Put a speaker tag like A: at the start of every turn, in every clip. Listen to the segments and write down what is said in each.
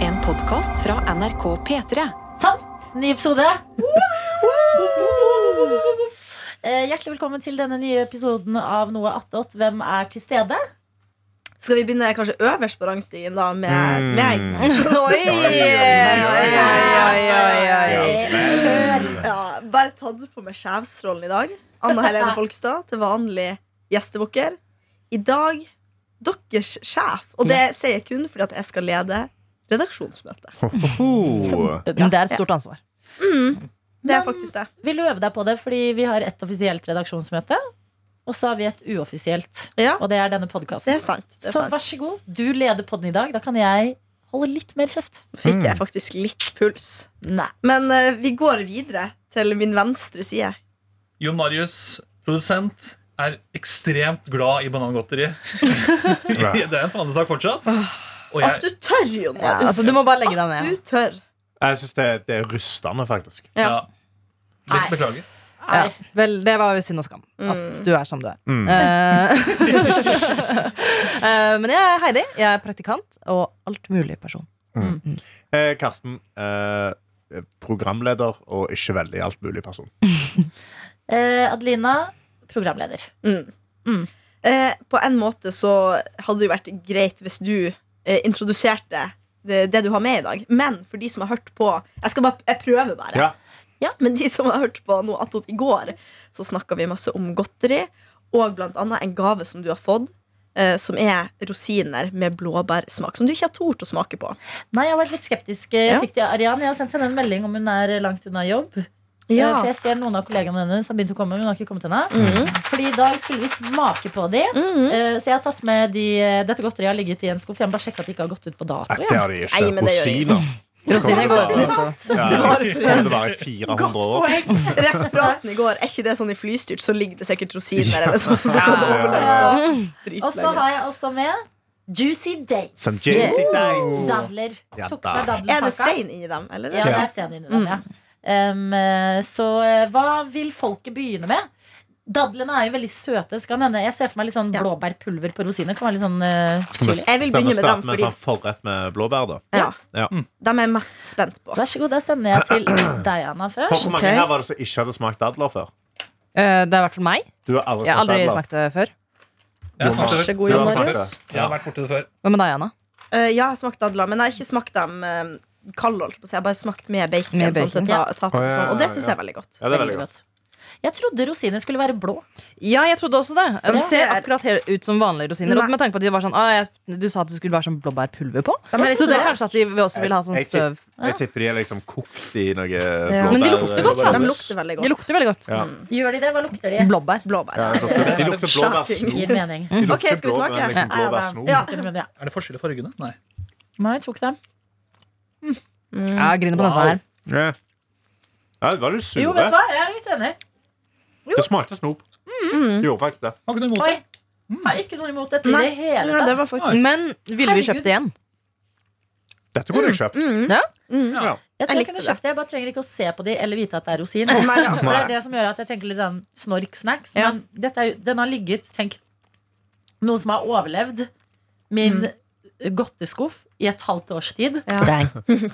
A: En podkast fra NRK P3.
B: Sånn, ny episode. Eh, Hjertelig velkommen til denne nye episoden av Noe attåt. Hvem er til stede?
C: Skal vi begynne kanskje øverst på rangstigen da med
D: Mm.
C: meg?
D: Oi, oi, oi, oi,
B: Eh, Kjør.
C: Ja, bare tatt på meg sjefsrollen i dag. Anna Helene Folkstad til vanlig gjestebukker. I dag deres sjef. Og det sier jeg kun fordi at jeg skal lede redaksjonsmøte.
D: Ho.
E: Men det er et stort ansvar.
C: Det er
B: Men-
C: faktisk det.
B: Vil du øve deg på det, fordi vi har et offisielt redaksjonsmøte. Og så har vi et uoffisielt,
C: Ja,
B: og det er denne
C: det
B: podkasten.
C: er sant. Det er
B: Så
C: sant.
B: vær så god, du leder podden i dag. Da kan jeg holde litt mer kjeft.
C: Fikk jeg faktisk litt puls.
B: Nei.
C: Men eh, vi går videre til min venstre side.
F: Jon Marius, produsent, er ekstremt glad i banangodteri. det er en fanesak fortsatt. Og
C: At
F: jeg,
C: du tør, Jon Marius.
E: altså, du må bare legge deg
C: At
E: ned.
C: du tør.
D: Jeg syns det, det er rustende, faktisk.
C: ja.
F: ja. Litt beklager.
E: Ja.
B: Nei.
E: Vel, det var jo synd og skam at du er som du er.
D: Mm.
E: Eh, eh, men jeg er Heidi. Jeg er praktikant og alt mulig person.
D: Eh, Karsten, eh, programleder og ikke veldig alt mulig person.
B: Eh, Adelina, programleder.
C: Mm.
B: Mm.
C: Eh, på en måte så hadde det jo vært greit hvis du eh, introduserte det, det du har med i dag. Men for de som har hørt på Jeg, skal bare, jeg prøver bare.
D: Ja.
B: Ja.
C: Men de som har hørt på nå attåt i går, så snakka vi masse om godteri. Og blant annet en gave som du har fått, eh, som er rosiner med blåbærsmak. Som du ikke har tort å smake på.
B: Nei, jeg har vært litt skeptisk. Jeg
C: Ja.
B: fikk det av Arian. Jeg har sendt henne en melding om hun er langt unna jobb. Eh, For jeg ser noen av kollegaene hennes har begynt å komme, men hun har ikke kommet ennå.
C: Mhm.
B: Fordi i dag skulle vi smake på de.
C: Mhm.
B: Eh, Så jeg har tatt med de eh, Dette godteriet har ligget i en skuff. Jeg må bare sjekke at det ikke har gått ut på dato.
D: Nei, det
B: Ja.
D: har de ikke.
C: Nei, men det gjør jeg
D: Rosiner.
E: Rosiner går ut.
D: Ja, det kommer til å være i 400 år.
C: Rett praten i går. Er ikke det sånn i flystyrt, så ligger det sikkert rosiner eller sånn. Så du kan
D: Ja.
C: overleve
B: Og så
C: dritlenge.
B: har jeg også med Juicy Dates.
D: Som Juicy Dates.
B: Dadler.
D: Ja,
B: Tok
D: da.
B: med
C: Er det
B: daddelpakka.
C: stein inni dem? Eller?
B: Ja, det er stein inni dem,
C: Mm.
B: ja. Um, eh, så eh, hva vil folket begynne med? Dadlene er jo veldig søte. Så kan hende, jeg ser for meg litt sånn
C: Ja.
B: blåbærpulver på rosiner. Kan være litt sånn eh,
D: Skal vi
B: chili.
C: Jeg vil begynne med
D: starte
C: dem,
D: med en
C: fordi-
D: sånn forrett med blåbær, da?
C: Ja.
D: Ja.
C: Dem er jeg mest spent på.
B: Vær så god, da sender jeg til deg, Anna,
D: For
B: først.
D: hvor mange
C: Ok.
D: her var det som ikke hadde smakt dadler før?
E: Eh, det er i hvert fall meg.
D: Du har aldri
E: Jeg
D: smakt
E: har aldri
D: dadler.
E: smakt det før.
F: Jeg har smakt
C: Vær
F: det.
C: så god,
D: Du
C: Jon
D: har smakt
C: Marius.
D: det.
F: Jeg har vært borti det før.
E: Hva med deg, Anna?
C: Eh, ja, jeg har smakt dadler, men jeg har ikke smakt dem uh, kald. holdt på å si. Jeg har bare smakt med bacon.
E: Med
C: sånn, til
E: bacon,
C: å ta, ta på
D: Å, ja,
C: sånn. Og det
D: ja,
C: syns
D: ja.
C: jeg er veldig godt.
D: Ja, det er veldig godt.
B: Jeg trodde rosiner skulle være blå.
E: Ja, jeg trodde også det. De ser
C: ser-
E: akkurat helt ut som vanlige rosiner.
C: Nei.
E: Og med tanke på at de var sånn ah, jeg, Du sa at det skulle være sånn blåbærpulver på.
C: De er litt
E: Så det er
C: rare.
E: kanskje at de også vil ha sånn
D: Jeg- jeg
E: støv.
D: Jeg tipper de er liksom kokt i noe
C: Ja.
D: blåbær. eh,
E: Men de lukter godt, da.
C: De lukter veldig
E: De
C: godt.
E: lukter veldig godt.
D: Ja.
B: Gjør de det? Hva lukter de?
E: Blåbær.
C: Blåbær.
D: Ja, de lukter- de lukter blåbærsnop.
B: Gir mening.
D: De lukter
C: Ok, skal vi
D: blåbær-
C: smake?
D: liksom
B: Ja, ja.
D: blåbærsnop.
C: Ja.
B: Ja.
F: Er det forskjell i fargene? Nei.
B: Nei, jeg tok dem.
C: Mm.
E: Ja, griner på nesa her.
D: Ja. Ja, det var litt sure.
B: Jo, vet du hva? Jeg er litt enig.
D: Det smakte snop. Det gjorde faktisk det.
F: Har ikke noe imot
B: Oi. Mm, Jeg
F: det.
B: har ikke noe imot dette i
C: Nei,
B: det altså. hele
C: Ja,
B: tatt.
C: det var faktisk
E: Men ville vi
B: Herregud.
E: kjøpt det igjen?
D: Dette kunne jeg kjøpt.
B: Jeg tror
C: Jeg
B: jeg,
C: likte
B: kunne
C: det.
B: kjøpt det. Jeg bare trenger ikke å se på de eller vite at det er rosin.
C: Nei, ja.
B: For det er det som gjør at jeg tenker litt sånn snork-snacks.
C: Ja.
B: Men dette er, jo- den har ligget, tenk, noen som har overlevd min
C: Mm.
B: godteskuff i et halvt års tid.
C: Ja.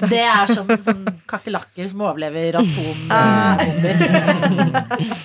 B: Det er som, som kakerlakker som overlever atombomber.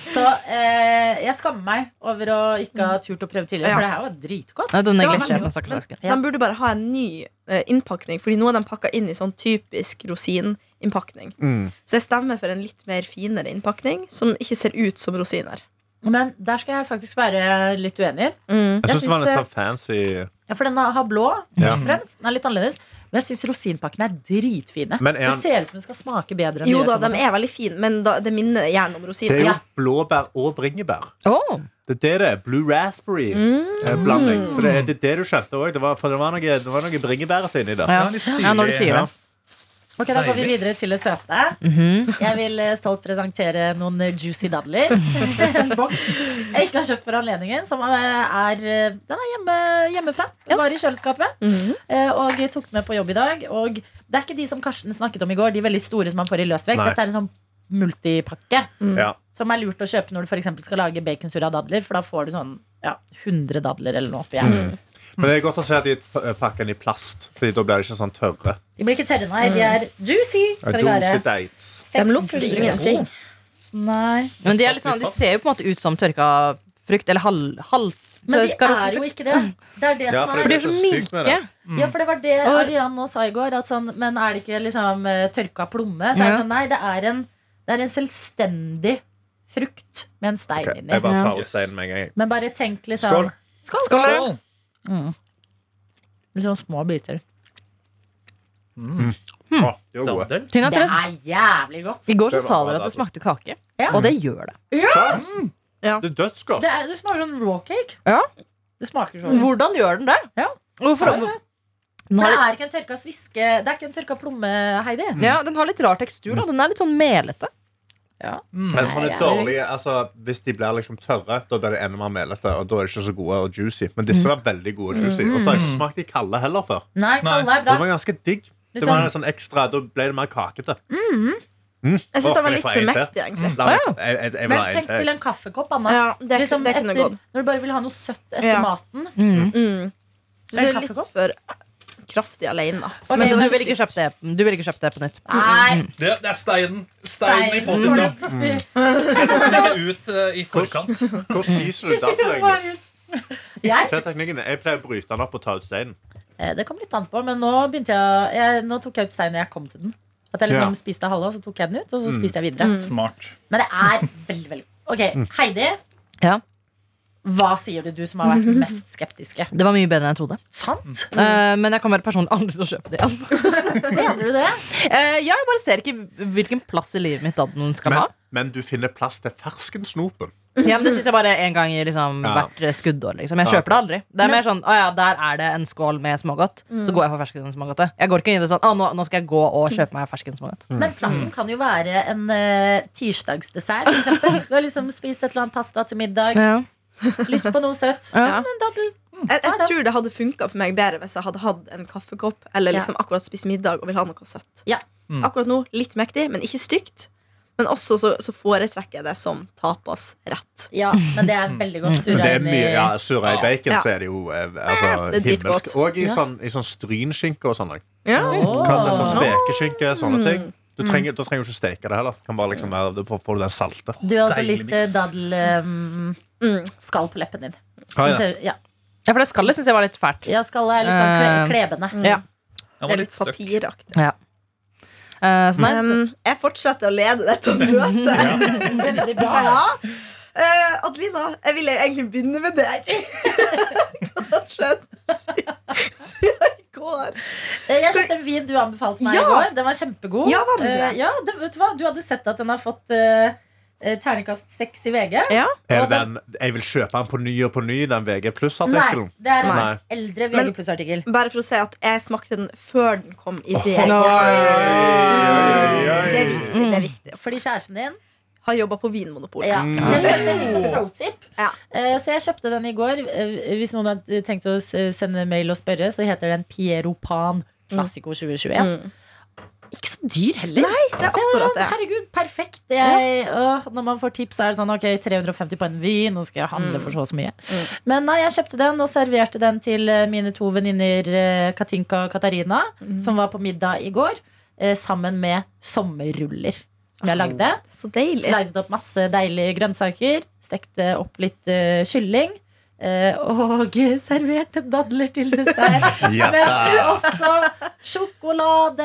B: Så eh, jeg skammer meg over å ikke ha turt å prøve tidligere, for det her var dritgodt.
E: Nei, du
C: var
E: neglisjerer
C: veldig
E: den stakkars esken.
C: De burde bare ha en ny eh, innpakning, Fordi nå er de pakka inn i sånn typisk rosininnpakning.
D: Mm.
C: Så jeg stemmer for en litt mer finere innpakning, som ikke ser ut som rosiner.
B: Men der skal jeg faktisk være litt uenig.
C: Mm.
D: Jeg syns det var litt
B: synes,
D: sånn fancy
B: Ja, For den har blå,
D: Ja.
B: først og fremst. Den er litt annerledes. Men jeg syns rosinpakkene er dritfine.
D: Men er
B: Det
D: han-
B: ser ut som den skal smake bedre. enn
C: Jo
B: de
C: da,
B: gjør på en
C: de
B: måte.
C: er eh, veldig fine, men da, det minner gjerne om
D: Det er
C: rosiner.
D: jo
B: Ja.
D: blåbær og bringebær.
E: Åh,
D: Det er det det er. Blue raspberry-blanding. Så det er det, er det du skjønte òg. Det, var- for det var noe, det var noe bringebærete inni der.
E: Ja.
F: Ja, litt syrlig.
E: Ja, når du sier det.
B: Ok, Da går vi videre til det søte. Jeg vil eh, stolt presentere noen eh, juicy dadler. En boks jeg ikke har kjøpt for anledningen. Som eh, er, eh, den er hjemme, hjemmefra. Den var i kjøleskapet. eh, Og jeg tok den med på jobb i dag. Og det er ikke de som Karsten snakket om i går, de veldig store som man får i løsvekt.
D: Nei.
B: Dette er en sånn multipakke
D: Ja.
B: som er lurt å kjøpe når du for eksempel skal lage baconsurra dadler, for da får du sånn ja, 100 dadler eller noe oppi her.
D: Men det er godt å se at de p- eh, pakker den i plast, Fordi da blir det ikke sånn tørre.
B: De blir ikke tørre, nei. De er juicy, skal de være.
D: Juicy dates.
C: De lukter
A: Seks-
C: ingenting.
B: Nei.
E: Men de, er litt sånn, de ser jo på en måte ut som tørka frukt. Eller halv,
B: Men de
E: halvtørka
B: er jo ikke det. Det er det
D: Ja,
B: som
D: for
B: er
E: For
D: Det
E: de er
D: er så
E: så
D: sykt med
E: myke.
D: det.
B: Ja, for det var det
E: Og-
B: Arian nå sa i går. At sånn, men er det ikke liksom eh, tørka plomme? Så er det
E: Ja.
B: sånn, nei, det er en, det er en selvstendig frukt med en stein
D: Ok,
B: inni.
D: jeg bare tar
F: Ja.
D: opp steinen med en gang.
B: Men bare tenk liksom
D: Skål.
B: Skål.
E: Skål!
B: Liksom små biter.
D: Å, de var gode.
F: Dadel.
E: Tynn og
B: Det
E: trøst.
B: er jævlig godt.
E: I går så
D: Det var
E: sa
D: bra,
E: dere at det
D: altså.
E: smakte kake.
B: Ja.
E: Og det gjør det.
D: Det er dødsgodt.
B: Det, er, det smaker sånn raw cake.
E: Ja.
B: Det smaker sånn.
E: Hvordan gjør den det?
B: Ja.
E: Hvorfor?
B: Ja, ja.
E: Den,
B: For
E: har
B: det
E: litt,
B: er ikke en tørka sviske Det er ikke en tørka plomme, Heidi.
E: ja, den har litt rar tekstur. Da. Den er litt sånn melete.
D: Men sånne
B: Nei,
D: dårlige, altså, hvis de blir liksom tørre, da blir de enda mer melete. Og da er de ikke så gode og juicy. Men disse var veldig gode og juicy. Og så har jeg
C: Mm.
D: ikke smakt de kalde heller før.
B: Nei,
F: Nei.
B: alle er
D: Det
B: bra.
D: var ganske digg. Det
B: Liksom-
D: var en sånn ekstra, Da ble det mer kakete. Mm.
C: Jeg syns
D: Å,
C: den
D: kan
C: var
D: jeg
C: litt
D: få
C: for
D: en til?
C: mektig, egentlig.
D: La meg, få- jeg, jeg, jeg vil
B: Men
D: ha en
B: tenk til
D: til.
B: en kaffekopp, Anna.
C: Ja, det,
B: liksom
C: det kunne
B: etter,
C: gått.
B: når du bare vil ha noe søtt etter
C: Ja.
B: maten.
C: Mm. Så
B: En
C: det er litt
B: kaffekopp?
C: for kraftig alene, da.
B: Ok,
E: Men så
B: men-
E: du vil ikke kjøpe det, du vil ikke kjøpe det på nytt?
D: Mm,
B: Nei,
F: Det, det er steinen. Steinen i
B: stein.
F: posten.
B: Mm.
F: Legge ut eh, i forkant.
D: Hvordan, hvordan spiser du den? egentlig?
B: Jeg?
D: Hva er teknikken? Jeg pleier å bryte den opp og ta ut steinen.
B: Eh, Det kom litt an på, men nå, begynte jeg, jeg, nå tok jeg ut steinen da jeg kom til den. At jeg liksom
D: Ja. Mm.
B: spiste halve, og så tok jeg den ut, og så spiste jeg videre.
F: Smart.
B: Men det er veldig, veldig Ok,
D: Mm.
B: Heidi.
E: Ja.
B: Hva sier du, du som har vært mest skeptiske?
E: Det var mye bedre enn jeg trodde.
B: Sant?
E: Eh, men jeg kommer personlig aldri til å kjøpe det igjen.
B: Mm. Mener du det?
E: Eh, ja, jeg bare ser ikke hvilken plass i livet mitt dadelen skal ha.
D: Men, men du finner plass til ferskensnopen.
E: Ja, men det spiser jeg bare en gang i liksom,
D: Ja.
E: hvert eh, skuddår. Liksom. Jeg
D: Ja,
E: kjøper det aldri. Det er mer sånn, å ja, Der er det en skål med smågodt. Så går jeg for ferskensmågodtet. Jeg går ikke inn i det sånn, å, nå, nå skal jeg gå og kjøpe meg ferskensmågodt.
D: Mm.
B: Men plassen kan jo være en eh, tirsdagsdessert. For eksempel. du har liksom spist et eller annet pasta til middag.
E: Ja.
B: Lyst på noe søtt.
E: Ja.
B: Men daddel.
C: Jeg,
B: Ja, da.
C: jeg tror det hadde funka for meg bedre hvis jeg hadde hatt en kaffekopp eller
B: Ja.
C: liksom akkurat spist middag og vil ha noe søtt.
B: Ja.
F: Mm.
C: Akkurat nå litt mektig, men ikke stygt. Men også så, så foretrekker jeg det som tapasrett.
B: Ja, men det er veldig godt
D: Mm. Men
B: surra
D: det er
B: inn i
D: mye, ja, Surra i
F: Ja.
D: bacon,
C: Ja.
D: så er det jo eh, altså,
C: Det er
D: himmelsk.
C: dritgodt.
D: Og i
B: Ja.
D: sånn, i sånn strynskinke og sånn. like.
B: Åh.
D: Hva slags sånn spekeskinke, sånne ting. Du trenger, da trenger du ikke steke det heller. Det Kan bare liksom være, da får- får du den salte.
B: Du har også
F: Deilig
B: litt eh,
F: mix.
B: daddel-skall
C: Mm.
B: på leppen din.
D: Ah,
B: Som
D: ja.
B: ser- ja.
E: ja, for det skallet syns jeg var litt fælt.
B: ja, skallet er litt sånn kle
E: Eh,
B: klebende.
E: Ja.
F: Jeg
C: Det
F: var
C: er
F: litt
C: litt
F: støkk.
C: papiraktig.
E: Eh, så nei,
C: Um, jeg fortsetter å lede dette møtet.
B: Veldig
C: Ja. ja. Eh, Adelina, jeg ville egentlig begynne med deg. Hva har skjedd siden- siden i går?
B: Eh, Jeg kjøpte en vin du anbefalte meg
C: Ja.
B: i går. Den var kjempegod.
C: Ja, var den det?
B: Eh, ja, det, vet du, hva? du hadde sett at den har fått eh, eh, terningkast seks i VG.
D: Er det den, jeg vil kjøpe den på ny og på ny, den VG pluss-artikkelen.
B: Nei, det er en
D: Nei.
B: eldre
C: Men-
B: VG pluss-artikkel.
C: Bare for å si at jeg smakte den før den kom i VG. Det er viktig. det er viktig
B: Fordi kjæresten din
C: Har jobba på
D: Mm.
C: Vinmonopolet.
B: Ja. Så jeg følte jeg fikk sånn pro-tip.
C: Ja.
B: Eh, Så jeg kjøpte den i går. Eh, Hvis noen hadde tenkt å s- sende mail og spørre, så heter den Pieropan Classico 2021.
C: Mm.
B: Ikke så dyr heller.
C: Det er
B: Så jeg var
C: akkurat
B: sånn,
C: det.
B: herregud, perfekt. Jeg, åh, når man får tips, så er det sånn ok, 350 på en vin, nå skal jeg handle for så og så mye. Men nei, jeg kjøpte den og serverte den til eh, mine to venninner eh, Katinka og Katarina, som var på middag i går, eh, sammen med sommerruller. Som jeg lagde.
C: Så deilig.
B: Sleiset opp masse deilige grønnsaker. Stekte opp litt eh, kylling. eh, og serverte dadler til dessert.
D: Ja.
B: Men også sjokolade.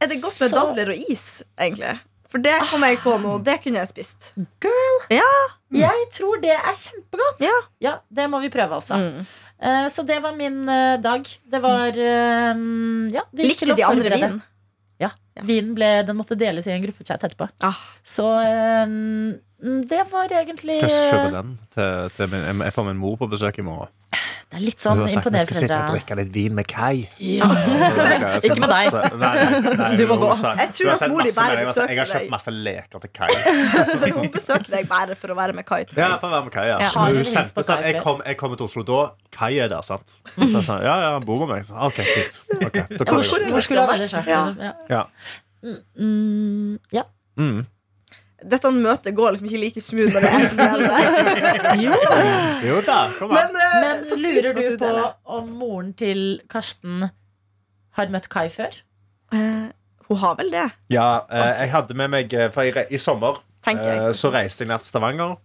C: Er det godt med
B: Så-
C: dadler og is, egentlig? For det kom jeg på nå. Det kunne jeg spist.
B: Jeg tror det er kjempegodt.
C: Ja.
B: Det må vi prøve også.
C: Mm.
B: Eh, så det var min eh, dag. Det var eh, ja, det gikk til
C: Likte
B: å
C: de andre
B: forberede.
C: vin? Ja.
B: Vinen ble, den måtte deles i en gruppechat etterpå.
C: Ah.
B: Så eh, mm, det var egentlig
D: Jeg skal kjøpe
B: eh,
D: den til, til min, jeg- jeg får min mor på besøk i morgen.
B: Det er litt
D: Hun
B: sånn
D: har sagt vi skal sitte og
B: imponerende.
D: drikke litt vin med Kai.
B: Ja.
E: Ikke med deg. Du må gå.
C: Jeg tror at mor di bare besøker
D: Jeg har
C: deg.
D: kjøpt masse leker til Kai.
C: Men hun besøker deg bare for å være med Kai. tror
D: Ja,
C: jeg.
D: jeg får være med Kai, ja.
C: Ja.
D: Men
B: Har
D: Hun
B: du hilst på
D: sendte sånn
B: Kai
D: Jeg
B: før?
D: kommer kom til Oslo da. Kai er der, sant? Så jeg sa ja, ja, han bor med meg. Så, Ok, fint. Ok, da
B: Hvor,
D: kommer
C: Hvor
D: jeg.
B: hvor skulle han ellers vært?
C: Ja.
B: liksom? Ja.
D: Ja.
B: Mm, ja.
D: Mm.
C: Dette møtet går liksom ikke like smooth når det er jeg som er der.
D: Jo da, kom an.
C: Men, eh,
B: Men
C: så pris
B: lurer
C: på at
B: du på
C: deler.
B: om moren til Karsten har møtt Kai før?
C: Eh, Hun har vel det,
D: Ja, eh, jeg hadde med meg eh, For jeg, re- i sommer
C: tenker
D: eh,
C: jeg.
D: så reiste jeg ned til Stavanger.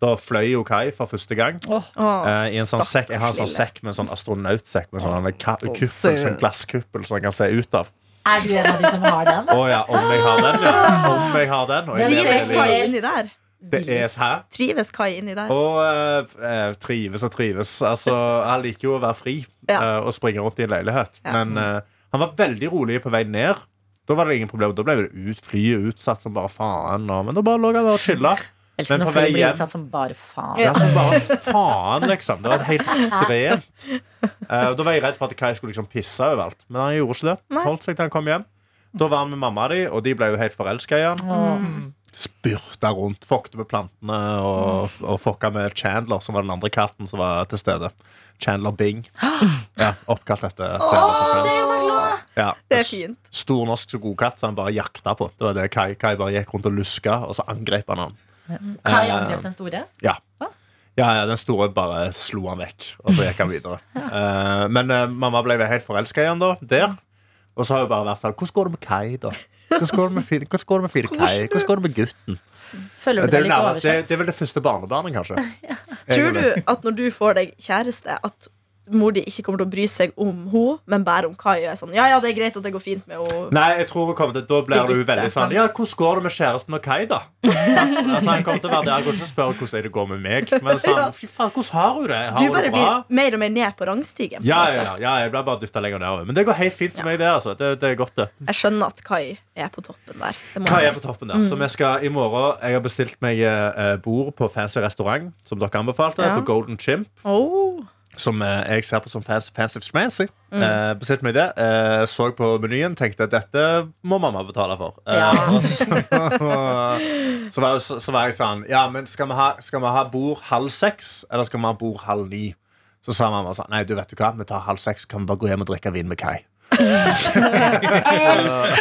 D: Da fløy jo Kai for første gang.
C: Åh.
D: eh, I en sånn
C: stakkars
D: sekk, Jeg har en sånn
C: lille.
D: sekk med en sånn astronautsekk med sånn, en ka-
E: så
D: kuppel,
E: søt.
D: sånn glasskuppel som jeg kan se ut av.
B: Er du en av de som har den?
D: Å ja, om jeg har den, ja. Om jeg har den. Og jeg
B: Den
D: lever
B: ser
D: det
C: Trives Kai
D: livet.
B: helt-
C: inni der?
D: Det er her.
C: Trives Kai inni der?
D: Og eh, eh, trives og trives. Altså, han liker jo å være fri
C: Ja.
D: eh, og springe rundt i en leilighet.
C: Ja.
D: Men eh, han var veldig rolig på vei ned. Da var det ingen problem. Da ble det ut, flyet utsatt som bare faen. Og, men da bare lå han der og chilla.
B: Elsker
D: Men
B: når
D: på vei
B: folk blir
D: hjem-
B: utsatt som bare faen.
D: Det er som Altså, bare faen, liksom. Det var helt ekstremt. Eh, og da var jeg redd for at Kai skulle liksom pisse overalt. Men han gjorde ikke det.
C: Nei.
D: Holdt seg til han kom hjem. Da var han med mamma di, og de ble jo helt forelska i han. Spurta rundt, fokte med plantene og, og fokka med Chandler, som var den andre katten som var til stede. Chandler Bing. Ja, Oppkalt etter Chandler for Friends. Ja.
C: Det er fint.
D: Stor norsk så god katt, så han bare jakta på. Det var det Kai, Kai bare gikk rundt og luska, og så angrep han han.
B: Kai
D: Eh,
B: angrep den store.
D: ja. Ja, ja, Den store bare slo han vekk, og så gikk han videre. Eh, men eh, mamma ble helt forelska i han da, der. Og så har hun bare vært sånn Hvordan går det med Kai, da? Hvordan går det med fine, hvordan går det med fine Kai? Hvordan går det med gutten?
B: Føler
D: Det
B: du deg
D: er, jo
B: litt
D: nærmest, det,
B: oversett?
D: det er vel det første barnebarnet, kanskje.
C: Tror
D: Egentlig.
C: du at når du får deg kjæreste, at mor di ikke kommer til å bry seg om henne, men bare om Kai? Og er sånn, ja, ja, det er greit at det går fint med henne.
D: Nei, jeg tror hun kommer til Da blir du veldig sånn Ja, hvordan går det med kjæresten og Kai, da? altså, han kommer til å være der. Han kommer ikke til å spørre hvordan det går med meg. Men sånn, fy faen, hvordan har hun det? Har
C: Du
D: hun
C: bare
D: det bra?
C: blir mer og mer ned på rangstigen. på en
D: Ja,
C: måte.
D: ja, ja, ja, jeg ble bare dytta lenger nedover. Men det går helt fint for meg, det. altså Det, det er godt, det.
C: Jeg skjønner at Kai er på toppen der. Det må
D: Kai er
C: jeg si.
D: på toppen der. Så vi skal i morgen Jeg har bestilt meg eh, eh, bord på fancy restaurant, som dere anbefalte,
C: Ja.
D: på Golden Chimp.
C: Åh.
D: Som eh, jeg ser på som fancy, fancy schmancy. Eh, bestilte meg det. eh, så på menyen, tenkte at dette må mamma betale for. Eh,
B: Ja.
D: og så, så, var, så, så var jeg sånn Ja, men skal vi, ha, skal vi ha bord halv seks, eller skal vi ha bord halv ni? Så sa mamma sånn Nei, du vet du hva, vi tar halv seks, kan vi bare gå hjem og drikke vin med Kai.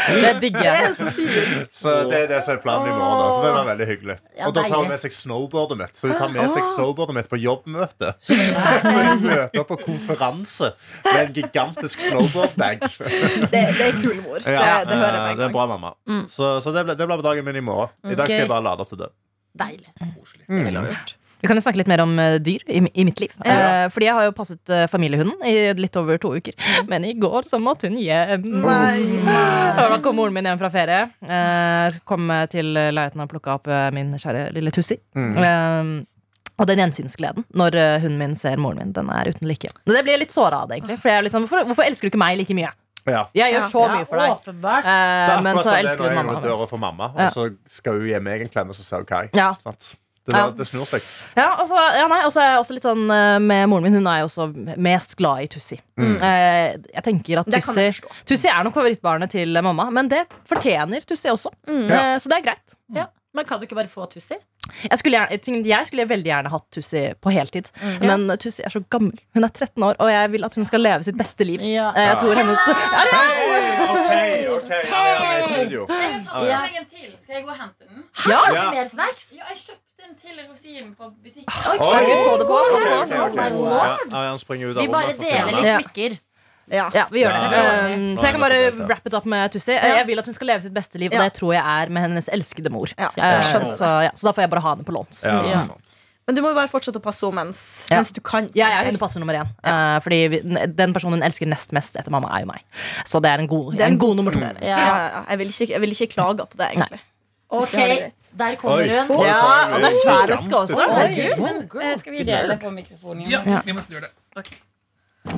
E: Det digger jeg.
D: Så det er det som er planen i morgen. da Så det var veldig hyggelig
B: Ja,
D: Og da tar hun
B: deilig.
D: med seg snowboardet mitt. Så hun tar med seg snowboardet mitt på jobbmøte. Så hun møter på konferanse med en gigantisk snowboardbag.
C: Det, det er kul mor. Det,
D: Ja,
C: det hører jeg
D: eh, det
C: med
D: er
C: en gang.
D: bra, mamma. Så, så det ble, det ble dagen min i morgen. I dag skal jeg bare lade opp til det.
B: Deilig.
E: Vi kan jo snakke litt mer om eh, dyr i, mi- i mitt liv. Eh, fordi jeg har jo passet eh, familiehunden i litt over to uker. Men i går så måtte hun hjem. Og Da kom moren min hjem fra ferie. Eh, så kom jeg til leiligheten og plukka opp eh, min kjære lille Tussi.
D: Mm.
E: Eh, og den gjensynsgleden når eh, hunden min ser moren min, den er uten like. Men det blir jeg litt såra av det, egentlig. For jeg er litt sånn, hvorfor, hvorfor elsker du ikke meg like mye?
D: Ja.
E: Jeg gjør så mye for deg.
B: Åpenbart.
E: Eh,
D: Det er
E: men
D: akkurat
E: så
D: sånn det er
E: elsker
D: når
E: hun
D: jeg
E: mamma
D: går døra for
E: hennes.
D: mamma,
E: Ja.
D: og så skal hun gi meg en klem, og så ser hun Kai.
E: Ja.
D: Sant? Det,
E: Ja.
D: det snur seg.
E: Ja, og så ja, nei, og så er jeg også litt sånn eh, med moren min. Hun er jo også mest glad i Tussi.
D: Mm.
E: Eh, jeg tenker at
C: Det kan
E: Tussi,
C: jeg forstå.
E: Tussi er nok favorittbarnet til eh, mamma, men det fortjener Tussi også.
C: Mm.
E: Eh, så det er greit.
B: Men kan du ikke bare få Tussi?
E: Jeg skulle, gjerne, ting- jeg skulle veldig gjerne hatt Tussi på heltid, men eh, Tussi er så gammel. Hun er 13 år, og jeg vil at hun skal leve sitt beste liv.
B: Ja.
E: Eh, jeg tror hennes Er det-
D: Hei, ok, Ariane er i studio.
B: Ja.
G: Jeg har en til. Skal jeg gå og hente den?
E: Ja!
D: Ja.
B: Mer snacks?
G: Ja, jeg kjøpte en til rosin på butikken.
E: Kan vi få det på? Få det på?
D: Ok, ok, ok. Ja, Ariane springer ut av
B: Vi bare
D: rommet.
B: deler litt
E: Ja.
B: smykker.
C: Ja.
E: Ja, vi gjør det.
D: Ja,
E: Eh, så jeg kan bare
D: Ja.
E: wrap it up med Tussi. Eh, Jeg vil at hun skal leve sitt beste liv, og
C: Ja.
E: det tror jeg er med hennes elskede mor.
C: Ja, jeg
E: Eh,
C: skjønner
E: så, ja, så da får jeg bare ha henne på låns.
D: Ja,
B: Ja.
D: sant.
C: Men du må jo bare fortsette å passe henne mens,
E: Ja.
C: mens du kan.
E: Ja, jeg er hundepasser nummer én. Eh, fordi vi, den personen hun elsker nest mest etter mamma, er jo meg. Så det er en god,
C: er en
E: en god nummer to.
C: Ja, ja, ja. Jeg vil ikke, jeg vil ikke klage på det, egentlig.
B: Ok, der kommer
D: Oi.
B: hun.
D: Oi.
E: Ja, og det er svær
D: Gigantisk.
E: eske også.
D: Oi.
B: Ah,
E: Herregud.
G: eh, Skal vi dele på mikrofonen?
F: Ja,
E: Ja.
F: vi må nesten gjøre det.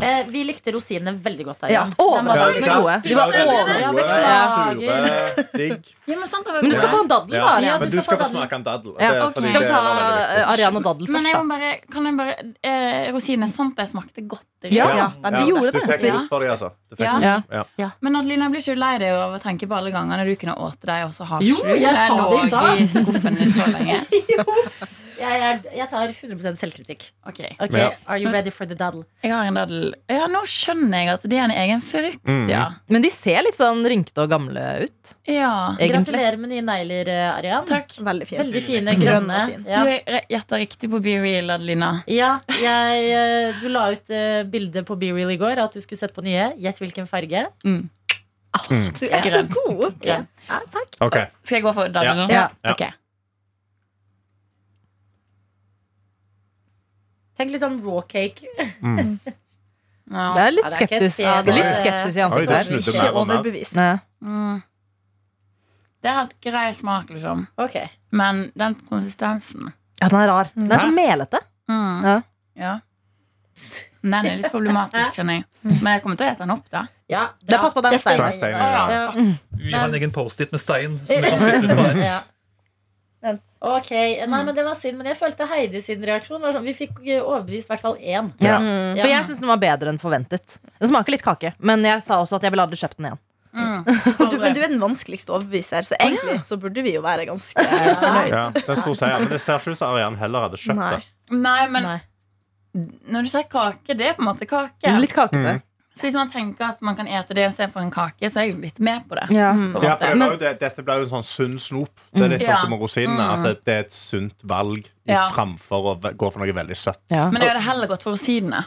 B: Eh, Vi likte rosinene veldig godt.
C: Ja.
B: Arian.
E: Overraskende gode. De var
D: veldig
E: overraskende
D: gode,
B: Ja.
D: Sure, digg.
G: Ja, men sant, det var
E: Men du skal
G: bra.
E: få en daddel, da.
D: Ja,
E: Arian.
D: Men
B: du
D: du
B: skal
D: skal
B: få
D: få
B: den.
D: smake en daddel.
E: Ja,
D: det er
G: ok.
D: fordi
E: Skal vi
D: det
E: ta
D: var veldig viktig.
E: eh, Arian og
B: Mm,
E: daddel
G: Men
E: først,
G: jeg
E: da?
G: må bare, kan jeg bare eh, Rosinen er sant det er smakte godteri.
E: Ja,
D: Ja,
E: de
D: ja.
E: gjorde
D: Du fikk
E: det.
D: puls for dem, altså. Du fikk
G: Ja.
D: puls.
E: Ja.
D: Ja.
G: Men Adelina, jeg blir ikke du lei deg over tanke på alle gangene du kunne åte deg, og så har
B: Jo,
G: ikke du
B: jeg sa det i
G: lå
B: stad.
G: i skuffen i så lenge?
B: Jeg, er- jeg tar 100 selvkritikk.
G: Ok.
B: Ok,
D: Ja.
B: Are you ready for the daddle?
G: Jeg har en daddel. Ja, nå skjønner jeg at det er en egen frukt,
D: Mm.
G: ja.
E: Men de ser litt sånn rynkete og gamle ut.
G: ja.
E: Egentlig.
B: Gratulerer med nye negler, eh, Arian.
G: Takk.
C: Veldig fint.
B: Veldig fine,
C: Grønn og
B: grønne.
C: fin.
B: Ja.
G: Du er- gjetter riktig på Be Real, Adelina.
B: Ja, jeg, eh, du la ut eh, bilde på BeReal i går at du skulle sette på nye. Gjett hvilken farge.
C: Du er så
G: Grønn.
C: god.
B: Ja. Ja, takk.
D: Ok,
G: Skal jeg gå for daddel?
E: Ja.
D: Ja.
G: Ok.
B: Tenk litt sånn raw cake.
G: Ja.
E: Det er litt
B: Ja, det er ikke et
E: skeptisk,
B: fjes,
E: det er litt
B: det-
E: skepsis i
D: Oi,
E: ansiktet
D: det
E: her.
D: snudde
C: Ikke
D: mer og mer.
C: overbevist.
E: Nei.
G: Mm. Det er helt grei smak, liksom.
B: Ok,
G: Men den konsistensen
E: Ja, den er rar. Den er så melete.
G: mm.
E: Ja.
G: Ja. Den er litt problematisk, skjønner jeg. Men jeg kommer til å ete den opp, da.
B: ja,
E: Det
B: bra.
E: pass på den
C: Jeg
E: steinen.
D: steiner. steiner,
G: ja.
B: Ja.
F: Vi har en egen Post-It med stein. Som vi kan spytte ut på her.
B: Ja.
C: Vent.
B: Ok, nei, men Det var synd, men jeg følte Heidi sin reaksjon. Var sånn, vi fikk eh, overbevist i hvert fall én.
E: Ja.
B: Ja.
E: For jeg syns den var bedre enn forventet. Den smaker litt kake, men jeg sa også at jeg ville aldri kjøpt den igjen.
G: Mm.
C: Og du, men du er den vanskeligste overbeviser, så egentlig så burde vi jo være ganske fornøyd.
D: ja, det er en stor seier. Men det ser ikke ut som Arian heller hadde kjøpt
C: Nei.
D: det.
G: Nei, men
B: Nei.
G: når du sier kake, det er på en måte kake.
E: Litt kakete.
D: Mm.
G: Så hvis man tenker at man kan ete det istedenfor en kake, så er jeg litt med på det.
E: Ja.
G: På en
D: Ja, for
G: måte.
D: det var jo det, dette ble jo en sånn sunn snop. Det
E: Mm.
D: er litt sånn
G: Ja.
D: som med rosinene. At det, det er et sunt valg i-
G: Ja.
D: framfor å ve- gå for noe veldig søtt.
E: Ja.
G: Men jeg hadde heller gått for rosinene.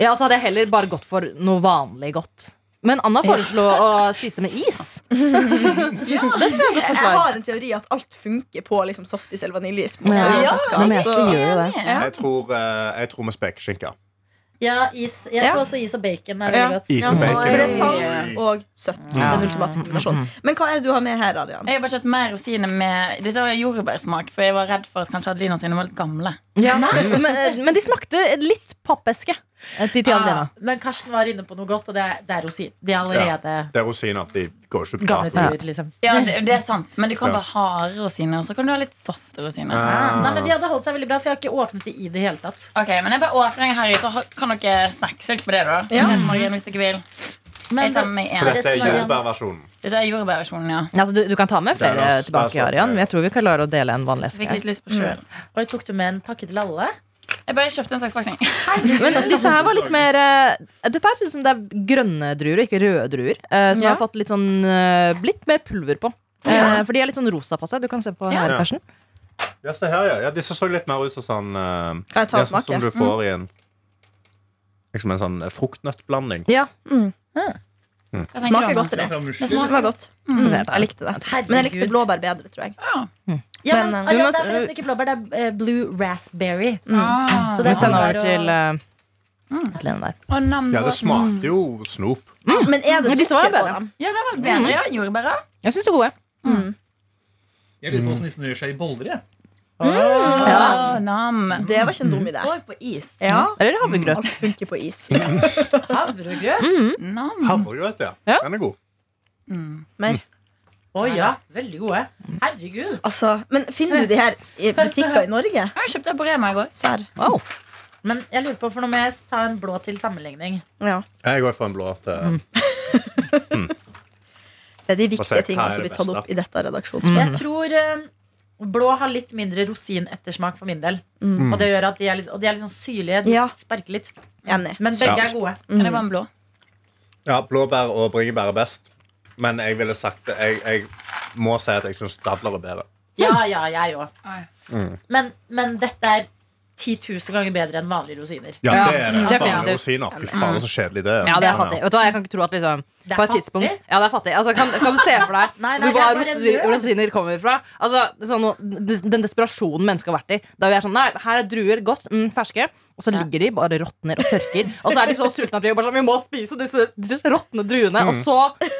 E: Ja, og så hadde jeg heller bare gått for noe vanlig godt. Men Anna foreslo å spise det med is. Det synes jeg er et godt
C: Jeg
E: forslag.
C: har en teori at alt funker på liksom softis eller vaniljeis. på en måte,
E: Ja,
C: uansett hva.
E: de fleste
C: Så-
E: gjør jo det.
G: Ja.
D: Jeg tror, eh, jeg tror med spekeskinke.
B: Ja, is. Jeg
C: Ja.
B: tror også is og bacon er
C: Ja.
B: veldig godt.
D: Is og
B: Ja.
D: bacon.
C: For det er
D: Oi.
C: salt og søtt. Den ultimate kombinasjonen. Men hva er det du har med her, Adrian?
G: Jeg har bare kjøpt mer rosiner med Dette var jordbærsmak, for jeg var redd for at kanskje Adelina sine var litt gamle.
E: Ja. Men, men de smakte litt pappeske. eh, Til Tia Lena.
B: Ja, men Karsten var inne på noe godt, og det er, det er rosin. De er allerede
D: Det er rosiner. De går ikke på
B: gamle
D: dato.
B: druer, liksom.
G: Ja, det, det er sant, men du kan
D: Ja.
G: være harde rosiner, og så kan du ha litt softe rosiner.
D: Ah.
B: Nei, men De hadde holdt seg veldig bra, for jeg har ikke åpnet de i det hele tatt.
G: Ok, men jeg bare åpner den her, i, så ha- kan dere snakke litt på det, da. Til Morgen, hvis dere vil.
B: Men,
G: Jeg tar med meg
D: For
G: en.
D: dette er
B: Resten av-
D: jordbærversjonen.
G: Dette er jordbærversjonen, ja.
E: Ja, Altså, du, du kan ta med
D: Det er
E: flere
D: oss- det
E: tilbake,
D: er altså- oss-
E: Arian. Men jeg tror vi kan klare å dele en vanlig
G: Jeg fikk
E: eske.
G: litt lyst på sjøl.
B: Oi, tok du med en pakke til alle?
G: Jeg bare kjøpte en slags pakning.
E: Men disse her var litt mer eh, Dette her synes som det er grønne druer, ikke røde druer. eh, Som
C: Ja.
E: har fått litt sånn eh, Litt mer pulver på. Eh, For de er litt sånn rosa på seg. Du kan se på her,
D: Ja.
E: Karsten.
D: Ja, se her, ja. ja. Disse så litt mer ut som sånn eh,
C: Kan jeg ta
D: ja,
C: og
D: sånn
C: smake?
D: Som du får i en Liksom en sånn eh, fruktnøttblanding.
E: Ja.
G: Hva tenker
C: Smaker
G: du om
C: godt, det.
F: Fra musli.
G: Det
C: Det
G: smaker
C: var godt. Jeg likte det. Men jeg likte blåbær bedre, tror jeg.
B: Ja, men,
C: Men,
B: ah, ja,
E: du må-
B: det er forresten ikke blåbær, det er eh, blue raspberry.
G: Ah.
B: Så
E: Vi
B: det er
E: sender
B: blåbær
E: over til
B: og
E: eh, til den der.
G: Og nam,
D: eh, Ja,
G: nå-
D: det smakte jo snop.
C: Men er
E: Men
C: det
E: disse var
C: sukker på
E: bedre.
C: dem?
G: Ja, det var bedre. Ja, jordbæra.
E: Jeg syns det er gode.
F: Jeg lurer på
C: Mm.
F: hvordan nissen gjør seg i boller. Jeg.
G: Ja. nam.
C: Det var ikke en dum idé.
G: Og på is.
C: Ja,
E: Eller havregrøt.
C: alt funker på is.
B: havregrøt.
G: Nam.
D: Havregrøt, ja.
E: Ja.
D: Den er god.
C: Mer.
B: Å ja, veldig gode. Herregud.
C: Altså, men finner du de her i butikker i Norge?
G: Jeg kjøpte det på Rema i går.
C: Serr.
E: Wow.
B: Men jeg lurer på, for nå må jeg ta en blå til sammenligning.
C: Ja.
D: Jeg går for en blå til
C: Det er de
D: Og se,
C: viktige
D: hva
C: tingene
D: er
C: som
D: det
C: blir tatt
D: beste?
C: opp i dette redaksjonsmøtet.
B: Jeg tror eh, blå har litt mindre rosinettersmak for min del. Og det gjør at de er litt, og de er litt sånn syrlige. De
C: Ja.
B: sparker litt.
C: Enig.
B: Men begge
D: Ja.
B: er gode.
G: Men det var en blå.
D: Ja, blåbær og bringebær er best. Men jeg ville sagt det. Jeg, jeg må si at jeg syns dadler er bedre.
B: Ja, ja, jeg òg.
G: Nei.
B: Men, men dette er 10 000 ganger bedre enn vanlige rosiner.
D: Ja, det er det.
E: definitivt.
D: Faen, rosiner. Fy faen, så kjedelig det er.
E: Ja, det er fattig. Vet du hva, jeg kan ikke tro at liksom
B: Det er
E: på et
B: fattig?
E: tidspunkt Ja, det er fattig. Altså, kan, kan du se for deg
B: Nei, nei, det er
E: hvor
B: bare en
E: rosi-
B: nød.
E: rosiner kommer fra? Altså, sånn, noe- den desperasjonen mennesket har vært i. Da vi er sånn Nei, her er druer godt, mm, ferske. Og så ligger de bare råtner og tørker. Og så er de så sultne at vi er bare sånn Vi må spise disse, disse råtne druene. Og så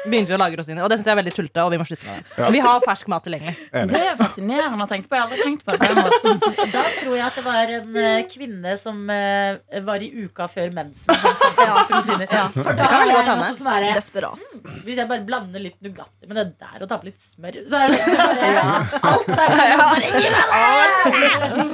E: begynner vi å lage rosiner. Og det syns jeg er veldig tullete, og vi må slutte med det. Og vi har fersk mat tilgjengelig.
G: Det er fascinerende å tenke på. Jeg har aldri tenkt på det på den måten.
B: Da tror jeg at det var en eh, kvinne som eh, var i uka før mensen. Som fant opp rosiner. For da
E: kan
B: er
E: veldig godt
B: jeg
E: hende.
B: også sånn herre
C: Desperat.
B: Hvis jeg bare blander litt Nugatti med det der og tar på litt smør, så er det bare Alt er bare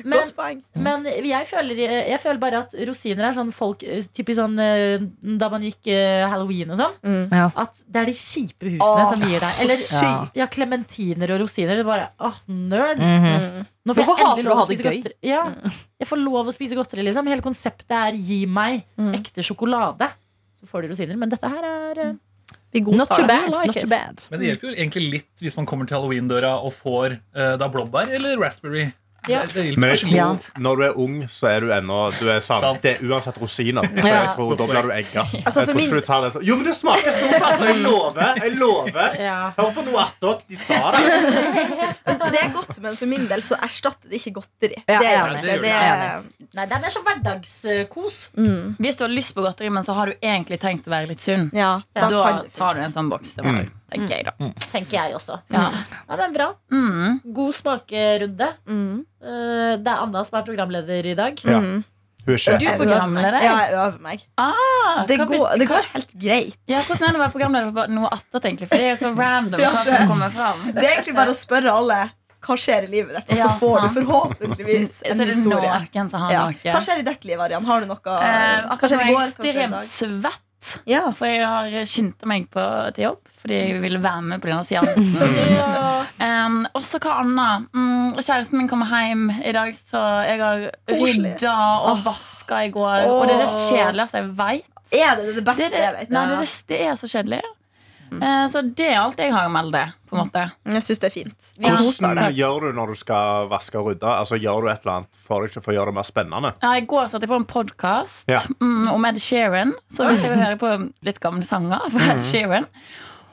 B: Men-
C: Godt poeng.
B: Men jeg føler, jeg føler bare at rosiner er sånn folk Typisk sånn eh, da man gikk eh, halloween og sånn.
C: Mm.
E: Ja.
B: At det er de kjipe husene
C: Åh,
B: som gir deg Eller
E: så sykt.
B: ja, klementiner og rosiner. Det er bare, åh, nerds
E: Mhm.
B: Nå får jeg
E: Hvorfor hater
B: endelig
E: du
B: lov
E: å
B: å
E: ha det
B: spise
E: gøy?
B: godteri. Ja, jeg får lov å spise godteri, liksom. Hele konseptet er gi meg ekte sjokolade. Så får du rosiner. Men dette her er eh,
C: Vi
E: Not
C: godtar
E: too
C: det.
E: bad.
B: like
E: Not
B: it.
E: too bad.
F: Men det hjelper jo egentlig litt hvis man kommer til halloween-døra og får eh, da blåbær eller raspberry.
B: Ja.
F: Det, det hjelper
D: Men jeg
F: kanskje litt.
D: tror, når du er ung, så er du ennå du er sånn,
F: Sant.
D: Det er uansett rosiner. Så
E: Ja. Altså,
D: jeg tror Da blir du egga. Jeg
C: for
D: tror
C: min-
D: ikke du tar den sånn Jo, men det smaker såpass! Jeg lover! Jeg lover!
B: ja.
D: Hør på noe attåt. De sa det.
C: Det er godt, men for min del så erstatter det ikke godteri.
E: Ja,
C: det
E: jeg
C: er
E: er
C: det
F: enig.
C: ikke. Det
E: Jeg
C: er,
B: Nei, det er mer sånn hverdagskos.
C: mm,
G: Hvis du har lyst på godteri, men så har du egentlig tenkt å være litt sunn,
C: ja, da
G: da
C: kan Mm. det
G: tar du en sånn boks. Det var, tenker jeg, da.
B: Tenker jeg også.
G: Ja.
B: Ja, men bra.
G: Mm.
B: God smakerunde.
C: mm,
B: Eh, Det er Anna som er programleder i dag.
D: Ja.
C: mm.
D: Hun er sjef.
G: Du er programleder.
C: Ja, jeg øver meg.
G: Ah,
C: Det
G: hva
C: går,
G: bet-
C: det
G: hva-
C: går helt greit.
G: Ja, hvordan er det å være programleder for noe attåt, egentlig? For det er så random hva som kommer fram.
C: Det er egentlig bare å spørre alle hva skjer i livet ditt, og så
G: Ja,
C: får du
G: sant.
C: forhåpentligvis
G: Så
C: en
G: er det
C: historie.
G: noen som har
C: Ja.
G: noe.
C: Hva skjer i ditt liv, Arian? Har du noe
G: Eh,
C: Hva
G: akkurat nå
C: skjedde i
G: er jeg
C: går? Hva skjedde i
G: ekstremt
C: dag?
G: svett.
C: Ja.
G: For jeg har skyndt meg på til jobb fordi jeg ville være med pga. seansen. um, og så hva annet? Mm, kjæresten min kommer hjem i dag, så jeg har
C: Koselig. Ah.
G: rydda og vaska i går. Og det er det kjedeligste jeg veit.
C: Er det det beste
G: Det, er
C: jeg
G: det,
C: vet?
G: nei, det, er det- det er så kjedelig. Eh, så det er alt jeg har å melde, på en måte.
C: Jeg syns det er fint. Vi koser
D: Hvordan
C: oss.
D: gjør du når du skal vaske og rydde? Altså, gjør du et eller annet for deg selv for å gjøre det mer spennende?
G: Ja, I går satte jeg på en podkast
D: Ja.
G: mm, om Ed Sheeran. Så begynte jeg å høre på litt gamle sanger. fra Ed
D: Mm.
G: Sheeran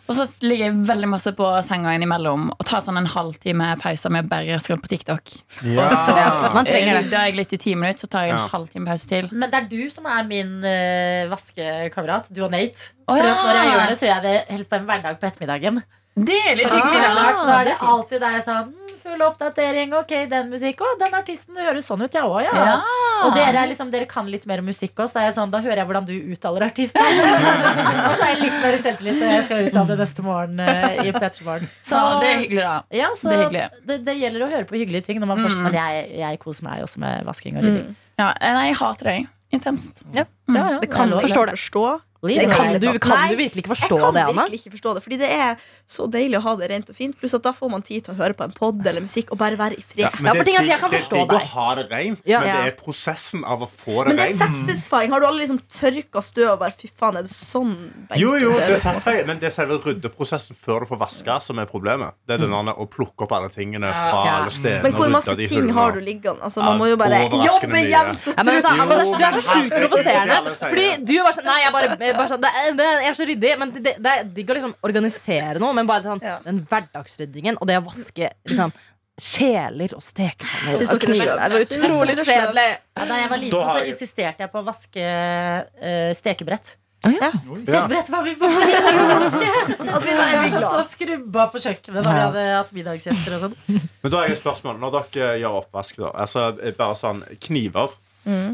G: Og så ligger jeg veldig masse på senga innimellom og tar sånn en halvtime pause med bare scroll på TikTok.
E: Man trenger det.
G: Da jeg litt i ti minutter, så tar jeg en
D: Ah. Ja.
G: halvtime pause til.
B: Men det er du som er min uh, vaskekamerat. Du og Nate.
G: Å,
B: For
G: ja.
B: at Når jeg gjør det, så gjør jeg det helst på en hverdag på ettermiddagen.
G: Det er litt
B: Så det er
G: hyggelig, da.
B: klart, så er det alltid der sånn mm, Full oppdatering. Ok, den musikk. Å, den artisten høres sånn ut, ja òg, ja.
G: Ja.
B: Og dere, er liksom, dere kan litt mer om musikk også. Da, er jeg sånn, da hører jeg hvordan du uttaler artisten. og så er jeg litt mer selvtillit når jeg skal uttale neste morgen eh, i Petermorgen.
G: Så det er hyggelig, da.
B: Ja, så
G: Det er
B: det,
G: hyggelig.
B: det, gjelder å høre på hyggelige ting. Når man får, Men jeg, jeg koser meg også med vasking og rydding.
G: Ja, nei, jeg hater deg. Intenst.
B: Ja, ja,
C: Det kan
B: er lov.
C: jeg
E: Forstår det.
C: forstå.
B: Leave
C: Det
B: it
C: kan
B: alone.
E: Du, kan
C: Nei,
E: du virkelig ikke
C: Jeg
E: forstå
C: kan
E: det, Anna?
C: virkelig ikke forstå det, fordi det er så deilig å ha det rent og fint. Pluss at da får man tid til å høre på en pod eller musikk og bare være i fred.
D: men
E: Ja,
D: det
E: for
D: er
E: ting er at jeg
D: digg-
E: kan
D: det er
E: forstå
D: digg å
E: deg.
D: ha det rent,
E: Ja.
D: men det er prosessen av å få det
C: Men det er
D: rent.
C: satisfying. Har du alle liksom tørka støv og bare Fy faen, er det sånn benken
D: Jo, jo,
C: ser
D: det er
C: ut på?»
D: satisfying, men det er selve ryddeprosessen før du får vaska, som er problemet. Det er den andre å plukke opp alle tingene fra
B: Ja.
D: alle stedene.
C: Men hvor
D: og
C: masse
D: rydde de
C: ting
D: hullene.
C: har du liggende? Altså,
D: Ja,
C: man må jo bare
D: overraskende
C: jobbe
D: mye.
C: jevnt og
E: Ja, men vet du,
D: Jo,
E: Anna, det er, du er så
D: men
E: sjukt
D: herregud, det er
E: provoserende.
D: det jeg
E: Fordi
D: sier.
E: du er bare sånn Nei, jeg, bare, jeg, bare sånn, det er, det er- jeg er så ryddig. Men det, det er digg å liksom organisere noe. Men bare sånn,
C: Ja.
E: den hverdagsryddingen og det å vaske liksom, kjeler og stekepanner
C: Syns
E: og
C: dere det er
E: kniver
C: sløvt?
E: det var
C: Syns dere
E: utrolig
C: det er sløvt?
E: kjedelig.
B: Ja, da jeg var
D: Da
B: liten,
D: har
B: så
D: jeg-
B: insisterte jeg på å vaske eh, stekebrett.
D: Ja.
B: Stekebrett var vi på! Jeg var så
C: glad.
B: stå og skrubba på kjøkkenet da vi hadde hatt middagsgjester og sånn.
D: Men da har jeg et spørsmål. Når dere gjør oppvask, da altså, bare sånn, Kniver,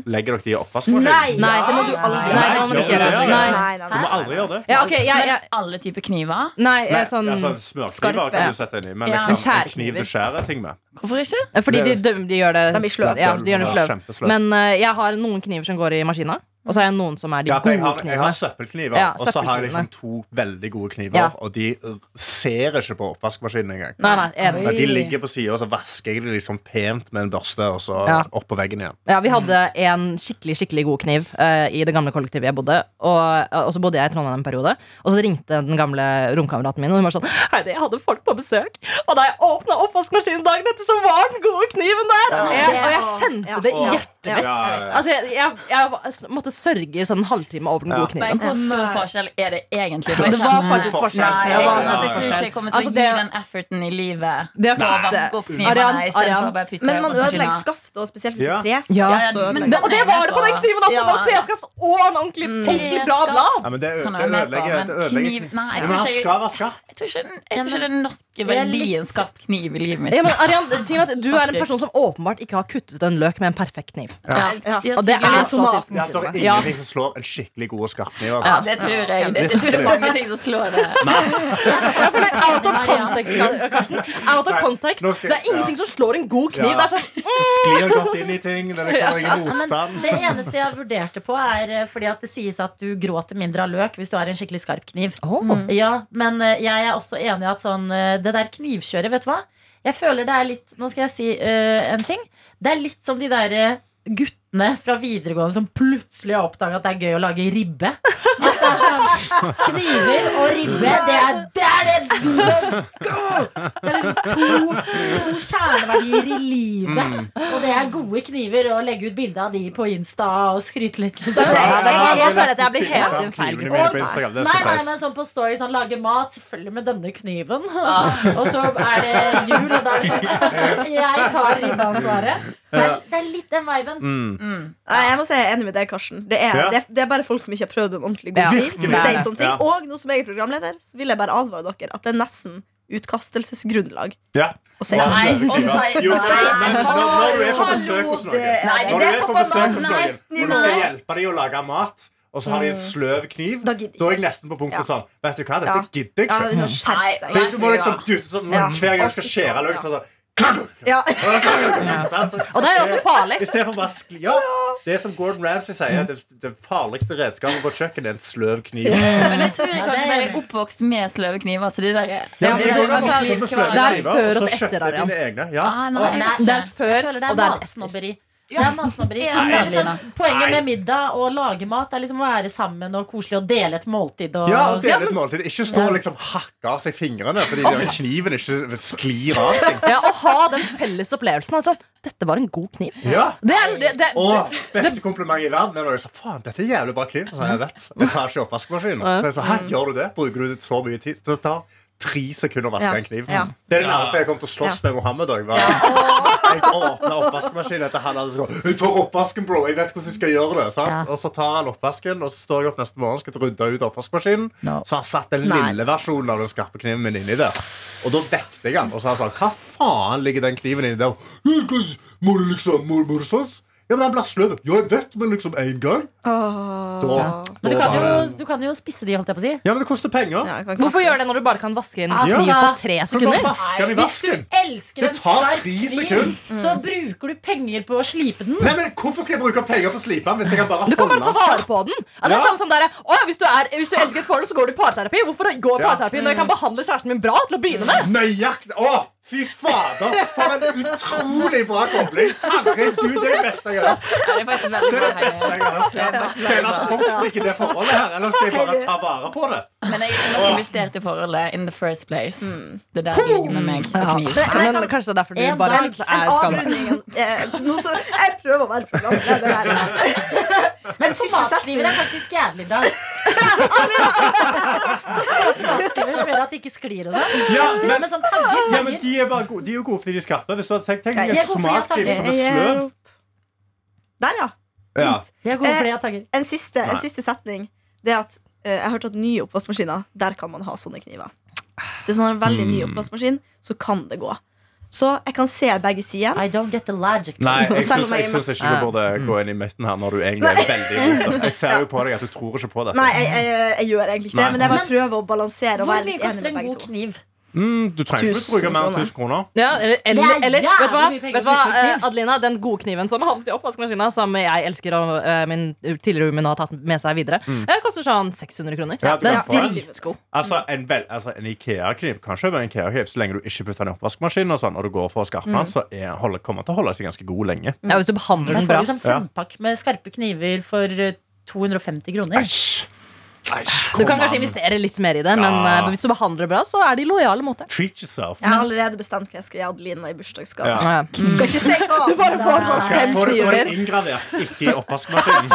D: legger dere de i oppvaskmaskinen?
C: Nei!
E: Nei,
C: det må du aldri
E: Nei, det må man ikke
D: gjør
E: gjøre.
D: det.
E: Nei.
D: Du må aldri gjøre det.
E: Ja, ok, jeg, jeg,
G: Men Mm. alle typer kniver.
E: nei, jeg,
D: Nei,
E: er sånn
D: altså, smørkniver
E: skarpe.
D: kan du sette inn i, men
G: Ja.
D: liksom,
E: Men
D: en kniv du skjærer ting med.
G: Hvorfor ikke?
E: Fordi de, de, de gjør det
C: De blir sløv.
E: Ja, de gjør det sløv.
D: Kjempesløv.
E: Men eh, jeg har noen kniver som går i maskina, og så har jeg noen som er de
D: Ja, for jeg
E: gode
D: har, jeg har
E: knivene.
D: søppelkniver,
E: Ja,
D: og så har jeg liksom
E: søppelknivene.
D: to veldig gode kniver.
E: Ja.
D: Og de ser ikke på oppvaskmaskinen engang.
E: Nei, nei, enig.
D: Ja, de ligger på sida, og så vasker jeg det liksom pent med en børste, og så
E: Ja.
D: opp på veggen igjen.
E: Ja, Vi hadde en skikkelig skikkelig god kniv eh, i det gamle kollektivet jeg bodde. Og, eh, og så bodde jeg i Trondheim en periode, og så ringte den gamle romkameraten min. Og hun var sånn Hei, det- jeg hadde folk på besøk, og da jeg åpna oppvaskmaskinen dagen etter, så var den gode kniven der! Og jeg, og jeg kjente det i
C: Ja.
E: hjertet mitt. Altså, jeg, jeg, jeg var- måtte sørge i sånn en halvtime over den
D: Ja.
E: gode
G: Men
E: kniven.
G: hvor stor forskjell er det egentlig?
E: Det var faktisk forskjell.
G: Nei,
E: Det var faktisk
G: jeg, jeg tror ikke
E: forskjell.
G: jeg kommer til
E: Altså,
G: å gi
E: det-
G: den efforten i livet.
E: Det er
G: Å
E: flott.
G: vaske opp
E: Arian,
G: knivene
E: Arian.
G: istedenfor å bare putte
C: Men man
G: det i
C: ødelegger
G: oppvaskmaskinen.
C: skaftet, og spesielt hvis det
D: Ja.
C: er treskaft.
E: Ja.
G: Ja,
C: så
G: ja,
C: ødelegger
G: men da-
C: det.
E: Og det var det på den kniven også!
G: Ja.
E: Det var treskaft og en ordentlig, ordentlig bra blad.
D: Ja, men det, det
G: Kan jeg være med på,
D: ødelegger
G: men
D: det ødelegger
G: kniv- nei, jeg
D: Ja,
G: tror
D: men han
G: ikke jeg-
D: skal være skarp.
G: Jeg tror ikke, jeg tror ikke det er nok verdi en skarp kniv i livet mitt.
E: Ja, men Arian, ting er at Du er en person som åpenbart ikke har kuttet en løk med en perfekt kniv.
D: Ja.
C: Ja.
G: Ja,
E: Og det er altså- så
G: tydeligvis.
C: tomaten.
D: Ja, det er
E: Ja.
D: ingenting som slår en skikkelig god skarpkniv.
G: Ja,
D: Altså.
G: det tror jeg. Det, jeg tror det er mange ting som slår det.
E: Out of context, Karsten. Out of
D: Nei,
E: context.
D: nå skal
E: Det
D: jeg-
E: er ingenting som slår en god kniv.
D: Ja.
E: Det er sånn
D: Det sklir godt inn i ting. Det er liksom ingen
B: Ja, men
D: motstand.
B: det eneste jeg vurderte på, er eh, fordi at det sies at du gråter mindre av løk hvis du har en skikkelig skarp kniv. Ja, Men eh, jeg er også enig i at sånn eh, Det der knivkjøret, vet du hva? Jeg føler det er litt Nå skal jeg si eh, en ting. Det er litt som de der eh, guttene fra videregående som plutselig har oppdaga at det er gøy å lage ribbe. At det er sånn, kniver og ribbe, det er det! Er det, det er liksom to, to kjerneverdier i livet. Og det er gode kniver å legge ut bilde av de på Insta og skryte litt. Liksom.
E: jeg føler at jeg blir helt i en feil
D: Knivene
E: gruppe.
D: mine på Instagram, det
B: Nei,
D: skal
B: nei,
D: sies.
B: men sånn på story sånn, Lage mat, selvfølgelig med denne kniven Og så er det jul Og da er det sånn Jeg tar ribbeansvaret det, er- det er litt den viben
D: Mm.
C: Nei, jeg må si jeg er enig med deg, Karsten. Det er,
D: Ja.
C: det, det er bare folk som ikke har prøvd en ordentlig god
E: Ja.
C: kniv, som
E: Virkelig.
C: sier sånne ting.
D: Ja.
C: Og nå som jeg er programleder, så vil jeg bare advare dere at det er nesten utkastelsesgrunnlag
D: Ja.
C: å si sånn.
G: Nei, og si-
D: Jo,
G: nei.
D: men Når når du er på
G: Hallo,
D: besøk hos
C: det
D: noen
C: er-
G: Nei,
D: Når du
G: det
D: er på besøk hos noen
C: bananhest
D: og du skal hjelpe dem å lage mat, og så har de en sløv kniv,
C: Da gidder
D: da er
C: ikke.
D: jeg nesten på punktet
C: Ja.
D: sånn Vet du hva, dette
C: Ja.
D: gidder
C: Ja,
D: jeg
C: liksom,
D: ikke.
C: skjerp deg.
G: Nei.
D: Tenk, Du må liksom dute sånn
C: Ja.
D: hver gang du skal skjære løk. Sånn, sånn.
C: Ja.
E: Og det er jo også farlig.
D: I stedet for bare skli ja. Det som Gordon Ramsay sier, det, det farligste redskapet på et kjøkken er en sløv kniv.
G: Men jeg tror jeg kanskje bare er oppvokst med sløve kniver. Så det der er
D: Ja, men
G: det
D: jeg
G: der er
D: går og
G: bare
D: vokser opp med sløve
E: Det er
D: kniver,
E: før
D: og
E: og
D: så
E: etter,
D: kjøpte jeg
E: Arian.
D: mine egne. Ja.
G: Ah, nei.
B: Nei,
E: Det er før,
B: Jeg føler det
E: og
B: er
E: det er etter.
B: matsnobberi Det er matsnobberi Men
G: Lina.
B: liksom, Poenget med middag og lage mat Er liksom å være sammen og koselig Og dele et måltid og,
D: Ja, og dele et måltid. Ikke stå og liksom hakke av seg fingrene fordi den kniven ikke sklir av ting.
E: Ja, Å ha den felles opplevelsen. Altså, dette var en god kniv.
D: Ja.
E: Det er, det, det,
D: Og beste kompliment i verden er når jeg sa faen, dette er en jævlig bra kniv. Så sa jeg, jeg vet, jeg tar ikke oppvaskmaskinen. Så jeg sa hæ, gjør du det? Bruker du det så mye tid? Det tar tre sekunder å vaske
C: Ja.
D: en kniv.
C: Ja.
D: Det er det nærmeste jeg kom til å slåss med Mohammed. da Jeg, var- jeg åpna oppvaskmaskinen etter han hadde sagt Hun tar oppvasken, bro! Jeg vet hvordan jeg skal gjøre det. Sant? Og så tar han oppvasken, og så står jeg opp neste morgen og skal rydde ut oppvaskmaskinen. Så han satt den
C: Nei.
D: lille versjonen av den skarpe kniven min inni der. Og da vekte jeg han og sa sånn Hva faen ligger den kniven inni der? «Hva- hva- Må du liksom Må må du sånn? Ja, men den blir sløv. Ja, jeg vet, men liksom én gang. Da,
B: Men du
D: da
B: kan,
D: var
B: jo,
D: det-
B: du kan jo spisse de, holdt jeg på å si
D: Ja, men det koster penger.
C: Ja, jeg kan kaste.
E: hvorfor gjør det når du bare kan vaske en
B: Altså,
E: kniv på tre
D: Kan du bare
E: sekunder?
D: vaske den i
B: Hvis du
D: vasken?
B: elsker
D: Det
B: en
D: tar
B: skarp
D: tre
B: kniv
D: sekunder.
B: Så bruker du penger på å slipe den
D: Nei, men Hvorfor skal jeg bruke penger på å slipe den hvis jeg kan bare
E: Du kan bare
D: holde
E: ta
D: den
E: vare
D: skarp?
E: på den. Ja, det er
D: Ja.
E: samme som der, å, ja, hvis, du er, hvis du elsker et forhold, så går du i parterapi. Hvorfor går jeg i
D: Ja.
E: parterapi når jeg kan behandle kjæresten min bra til å begynne med?
D: Nøyaktig! Å, fy fader, for en utrolig bra kobling! Herregud, det er det beste jeg har hørt.
G: Ja, det er faktisk veldig
D: Det er
G: bra,
D: det beste jeg har hørt.
G: Heidi.
D: Skal jeg være toxic i det forholdet her, eller skal jeg bare ta vare på det?
G: Men jeg har investert i forholdet in the first place. Det der ligger med meg på kniv.
E: Men kanskje det er derfor du
B: En
E: bare
B: dag,
E: er
C: En
E: skada.
C: avrunding eh, nå så- Jeg prøver å være programleder her.
B: Men tomatkniver er faktisk jævlig bra. så små tomatkniver som gjør at det ikke sklir og sånn.
D: Ja,
B: Dra med sånn tagger.
D: Ja, men
B: tagger.
D: de er, bare gode. de er jo gode fordi de er skarpe. Hvis du hadde tenkt, tenk
C: Nei,
D: deg
B: de er
D: en
B: gode fordi jeg
D: tomatkniv som er
C: Jeg gir
D: sløv.
C: opp. Der, ja.
D: Ja.
B: De er
C: Eh.
B: gode fordi jeg har tagger.
C: En siste, en
D: Nei.
C: siste setning. Det er at eh, Jeg har hørt at nye oppvaskmaskiner Der kan man ha sånne kniver. Så hvis man har en veldig
D: Hmm.
C: ny oppvaskmaskin, så kan det gå. Så jeg kan se begge sider.
B: I don't get the logic.
D: Nei, jeg
C: Selv om
D: syns,
C: jeg
D: jeg
C: er
D: syns
C: mest-
D: ikke du burde gå inn i midten her når du egentlig er veldig imot det. Jeg ser jo på deg at du tror ikke på dette.
C: Nei, jeg, jeg, jeg gjør egentlig ikke det,
D: Nei.
C: men jeg bare
B: Men-
C: prøver å balansere og
B: Hvor mye
C: være litt enig
B: koster en
C: med begge
B: god
C: to.
B: kniv?
D: Mm, du trenger ikke
C: Tusen
D: bruke mer enn
C: kroner.
D: 1000 kroner.
E: Ja, eller, eller,
B: Det er
E: eller vet du hva,
B: jævlig mye penger
E: vet du hva
B: på en kniv.
E: eh, Adelina, den gode kniven som havnet i oppvaskmaskina, som jeg elsker og eh, min tidligere roomie nå har tatt med seg videre, eh, koster sånn 600 kroner.
D: Mm. Ja, du
E: den
D: kan få
E: er
D: den.
E: dritgod.
D: Altså, en, vel- altså, en Ikea-kniv kan kjøpe en Ikea-kniv så lenge du ikke putter den i oppvaskmaskinen, og sånn, og du går for å skarpe den, så er, holder, kommer den til å holde seg ganske god lenge.
B: Mm.
E: Ja, hvis du
B: Der
E: behandler den
B: får
E: bra.
B: du sånn fempakk med skarpe kniver for eh, 250 kroner.
D: Æsj!
E: Du kan kanskje investere litt mer i det, men
D: Ja.
E: eh, hvis du behandler det bra, så er de lojale mot det.
D: Treat yourself.
C: Jeg har allerede bestemt hva jeg skal gi Adelina i bursdagsgave.
D: Ja.
E: Ja.
C: Skal ikke si hva.
E: Du bare får sånn
D: Skal jeg
E: fem
D: få det, få det
E: kniver.
D: inngravert, ikke i oppvaskmaskinen.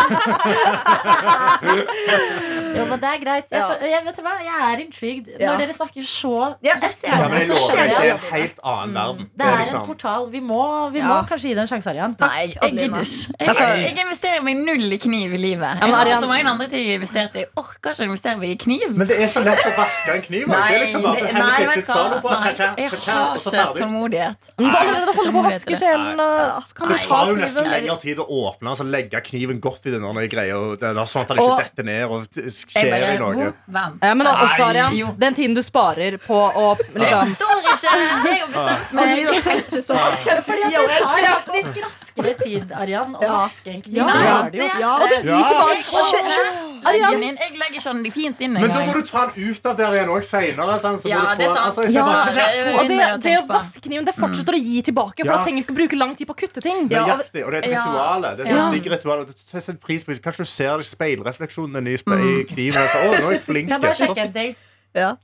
B: Jo, men det er greit. Jeg,
C: Ja.
B: for- jeg, vet du hva? jeg er intrigued.
C: Ja.
B: Når dere snakker så
C: Ja, jeg ser
D: Ja, men jeg
C: Så
D: lover
C: skjer
D: deg, det er
C: det.
D: en helt annen verden.
B: Det er en
D: liksom-
B: portal. Vi må, vi må
C: Ja.
B: kanskje gi det en sjanse, Arian.
G: Nei, jeg
C: Adelina.
G: gidder ikke. Jeg, jeg investerer meg null i kniv i livet.
E: men
G: Jeg har
E: Arian-
G: så mange andre ting jeg har investert i. Jeg orker ikke å investere meg i kniv.
D: Men det er så lett å vaske en kniv. Nei, det er liksom bare
G: det-
D: å
G: nei,
D: helle litt
G: vet du hva?
D: Zalo på,
G: Nei,
D: tja-tja,
G: jeg
D: tja-tja,
G: har
D: og så
G: ikke
D: ferdig.
G: tålmodighet.
E: Men da allerede holder på å vaske sjelen. og så kan du
D: Det
E: ta
D: tar jo nesten
E: kniven.
D: lengre tid å åpne og legge kniven godt i den andre greia. og det er da Sånn at den ikke
E: Og-
D: detter ned og t-
G: Jeg
D: skjer
G: bare,
D: i noe.
G: hvor vant?
E: Ja, men da, også,
D: Nei,
E: Arian,
G: jo.
E: den tiden du sparer på å liksom
G: Står ikke! Jeg har bestemt meg.
C: Adelina tenkte sånn.
B: Fordi at det tar faktisk raskere tid, Arian, å
C: Ja.
B: vaske en kniv.
C: Ja,
B: Det
C: ja,
B: gjør det jo.
C: ja, og det-
D: Ja,
G: Jeg legger den inn. Jeg legger ikke den fint inn
D: Men da må
G: engang.
D: du ta den ut av der igjen òg seinere.
G: Ja, det er sant.
D: altså,
E: Ja,
G: det-
E: Og det,
G: Begynner jeg å
E: det å
G: tenke på.
E: vaske kniven det fortsetter å gi tilbake, for
D: Mm. Ja.
E: da trenger du ikke bruke lang tid på å kutte ting.
D: Det er
C: Ja, og-
D: hjertelig, og det er et
G: Ja.
D: ritual. Det er
G: Ja.
D: et digg ritual. og Du setter en pris på det. Kanskje du ser speilrefleksjonen i, spe i kniven. Og så, å, nå er jeg flink.
B: Kan jeg bare sjekke en ting?
C: Ja.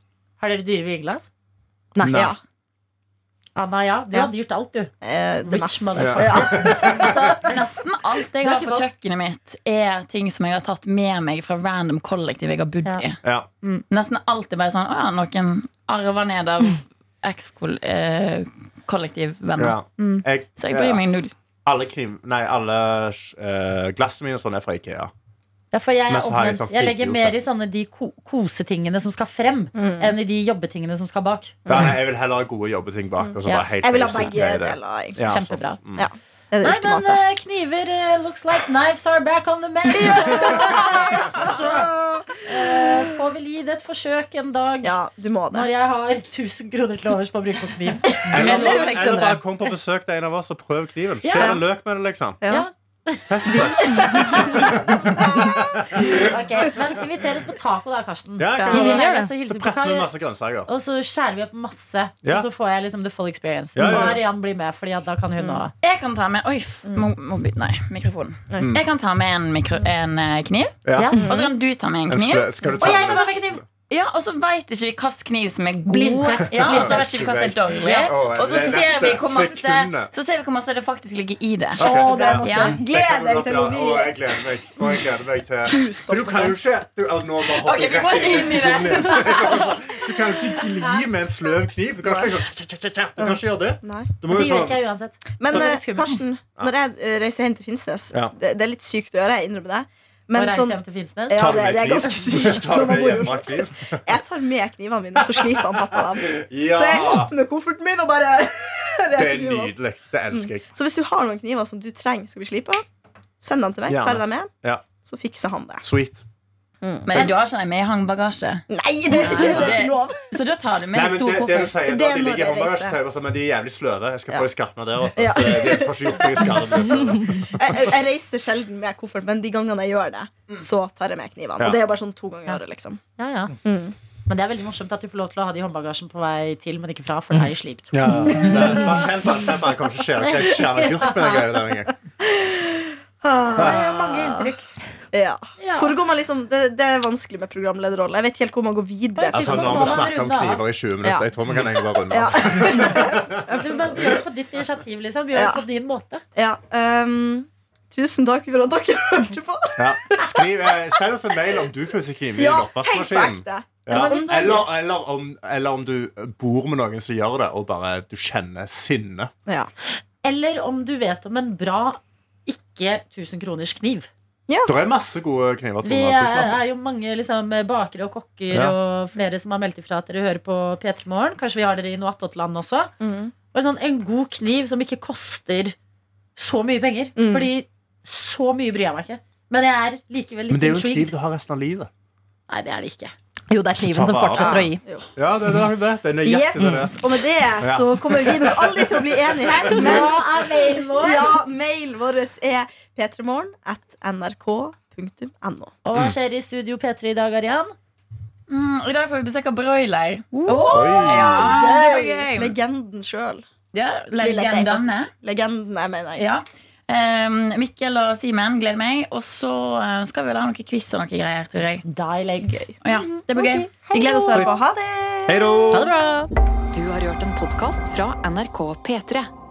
B: Har dere dyre vinglass?
E: Nei.
D: Nei.
C: Ja.
B: Anna, ja. Du
C: Ja.
B: har dyrt alt, du.
C: Eh, Det
B: Rich
C: meste.
B: motherfucker.
C: Ja.
G: Nesten alt jeg
B: Det er
G: har
B: ikke
G: på
B: godt.
G: kjøkkenet mitt, er ting som jeg har tatt med meg fra random kollektiv jeg har bodd
B: Ja.
G: i.
D: Ja.
G: Nesten alltid bare sånn Å ja, noen arver ned av eks-kollektivvenner.
D: Ja. Jeg,
G: Mm. Så jeg bryr
D: ja.
G: meg null.
D: Alle, kniv, nei, alle eh, glassene mine og sånn er fra Ikea.
B: Ja, for jeg, er
D: Men så har jeg
B: omvendt.
D: sånn
B: jeg legger
D: fyrkjose.
B: mer i sånne de ko kosetingene som skal frem,
C: Mm.
B: enn i de jobbetingene som skal bak.
D: Da, nei, jeg vil heller ha gode jobbeting bak. Og så
B: Ja.
D: bare helt
C: Jeg vil ha
D: basic
C: begge
D: med det.
C: deler, egentlig.
D: Ja,
B: Kjempebra.
D: sant. Mm.
C: Ja. Det er det
B: Nei, men
C: ultimate.
B: eh, kniver eh, looks like knives are back on the menu. Eh, får vel gi det et forsøk en dag.
C: Ja, du må det.
B: Når jeg har 1000 kroner til overs på å bruke på kniv.
D: Eller,
E: Eller
D: bare-
E: 600.
D: eller bare kom på besøk til en av oss og prøv kniven.
B: Ja.
D: Skjær en løk med det, liksom.
C: Ja.
B: Ja.
D: Test det.
B: Ok, Men inviter oss på taco, da, Karsten.
D: Ja,
C: Ja.
D: kan
B: I
D: du
B: min
D: det?
B: leilighet så hilser
D: Så
B: vi på
D: prepper vi
B: Kai.
D: masse grønnsaker.
B: Og så skjærer vi opp masse,
D: Ja.
B: og så får jeg liksom the full experience.
D: Ja, ja, ja.
B: Og Arian blir med, Fordi at da kan hun òg.
G: Mm. Jeg kan ta med Oi, f- mo- mobil, nei, mikrofonen. Jeg kan ta med en, mikro, en eh, kniv,
D: Ja.
G: og så kan du ta med en
D: En
G: kniv.
D: slø- skal du
B: Og
D: ta
B: jeg
D: den?
B: kan ta kniv!
G: Ja, Og så veit ikke vi hvilken kniv som er god.
B: Blindtest.
G: Ja, og så vet ikke vi hva som er dårlig.
D: Ja. Å,
G: Og så
D: det er
G: ser vi
D: dette
G: hvor masse,
D: sekundet.
G: så ser vi hvor masse det faktisk ligger i det.
D: Ok,
C: Å, det er masse.
G: Ja.
C: Gled deg til
D: å
C: mobil.
D: Å, jeg gleder meg. Å, jeg gleder meg til For du kan jo ikke du, å, Nå bare hopper
G: Ok, vi
D: jeg
G: går
D: rett i
G: ikke inn i det.
D: diskusjonen din. Du kan jo ikke gli med en sløv kniv. Du kan ikke liksom tja, tja, tja, tja. Du kan ikke gjøre det.
C: Nei.
D: Du må
B: Det
D: jo
B: gjør ikke
D: sånn
B: jeg uansett.
C: Men
B: Det er
C: eh,
B: litt skummelt.
C: Karsten, når jeg eh, reiser hjem til Finnsnes
D: Ja.
C: det, det er litt sykt å gjøre, jeg innrømmer det.
B: Å
C: Men
B: reise
C: sånn,
B: hjem til Finnsnes.
C: ja,
D: Tar du
C: det,
D: med
C: det er ganske
D: kniv?
C: sykt.
D: Tar
C: når
D: du
C: man bor
D: med
C: i Oslo.
D: hjemmebakt kniv?
C: Jeg tar med knivene mine, så sliter han pappa dem.
D: Ja!
C: Så jeg åpner kofferten min og bare
D: Det
C: reker
D: er
C: knivene.
D: nydelig. Det elsker jeg.
C: Så hvis du har noen kniver som du trenger skal bli slipa, send dem til meg.
D: Gjerne.
C: Tar jeg dem med,
D: Ja.
C: så fikser han det.
D: Sweet.
G: Men da har ikke de med i hangbagasje.
C: Nei, det det er
G: Nei,
C: ikke
G: det-
C: lov!
G: Så da tar du med
D: Nei,
G: en
D: men
G: stor
D: det, det du
G: koffert.
D: sier,
C: Det
D: da, de
C: må
D: ligger i
C: jeg
D: håndbak,
C: reise.
D: så sier du sånn, men de er jævlig sløve. Jeg skal
C: Ja.
D: få de skarpene der også.
C: Ja.
D: Så de får ikke gjort noe skade med det, så-
C: Jeg, jeg, jeg reiser sjelden med koffert, men de gangene jeg gjør det, så tar jeg med knivene.
D: Ja.
C: Og det er bare sånn to ganger i året, liksom.
B: Mm. Ja, ja.
C: Mm.
B: Men det er veldig morsomt at du får lov til å ha det i håndbagasjen på vei til, men ikke fra, for det er i slip.
D: Ja. Nei, Bare kjenn på den femmeren. Kommer ikke til å skje noe. Jeg skjærer gult med den greia der en gang.
C: Ah,
B: Mange inntrykk.
C: ja.
B: Ja.
C: Hvor går man liksom, det, det er vanskelig med programlederrolle. Jeg vet ikke helt hvor man går videre.
B: Altså,
D: Altså,
C: Liksom,
D: nå
C: sånn-
D: har vi snakket om
B: Runde av.
D: kniver i 20 minutter. Jeg tror vi kan egentlig bare runde
C: Ja.
D: av.
B: Du bare gjør det på ditt initiativ, liksom. Gjør
C: Ja.
B: det på din måte.
C: Ja, ehm, tusen takk for at dere hørte på.
D: Ja. Skriv, eh, send oss en mail om du pusser kniv i
C: Ja, helt på
D: oppvaskmaskinen.
C: ekte.
D: Ja.
B: Men hvis du-
D: Eller, eller, om, eller om du bor med noen som gjør det, og bare du kjenner sinne.
C: Ja.
B: Eller om du vet om en bra ikke 1000 kroners kniv.
D: Det er masse gode kniver.
B: Vi
D: Tone. Tusen
B: er,
D: takk.
B: er jo mange liksom, bakere og kokker
D: Ja.
B: og flere som har meldt ifra at dere hører på P3 Morgen. Kanskje vi har dere i noe attåt land også.
C: Mm.
B: Og sånn, en god kniv som ikke koster så mye penger.
C: Mm.
B: Fordi så mye bryr jeg meg ikke. Men jeg er likevel
D: Men
B: litt
D: det er jo en kniv
B: intrigued.
D: du har resten av livet.
B: Nei, det er det ikke.
E: Jo, det er kniven som fortsetter å gi.
C: Jo.
D: Ja, det er det. Den er
C: Yes, og med det så kommer vi nok aldri til å bli enige her. Men
B: er mailen
C: ja, mailen vår er p3morgen at nrk.no.
B: Og
D: Mm.
B: hva skjer i Studio P3 i dag, Arian?
G: Mm, og I dag får vi besøk av broiler.
D: Oi!
G: Ja, det blir
C: Gøy.
G: gøy.
C: Legenden sjøl.
G: Ja, legendene.
C: Legenden, jeg mener jeg.
G: Ja. Ehm, Mikkel og Simen, gleder meg. Og så eh, skal vi vel ha noe quiz og noe greier, tror jeg.
B: Die leg. Gøy.
G: Og ja, det blir gøy.
C: Vi gleder oss til å høre på. Ha det!
D: Hei da!
E: Ha det bra.
A: Du har hørt en podkast fra NRK P3.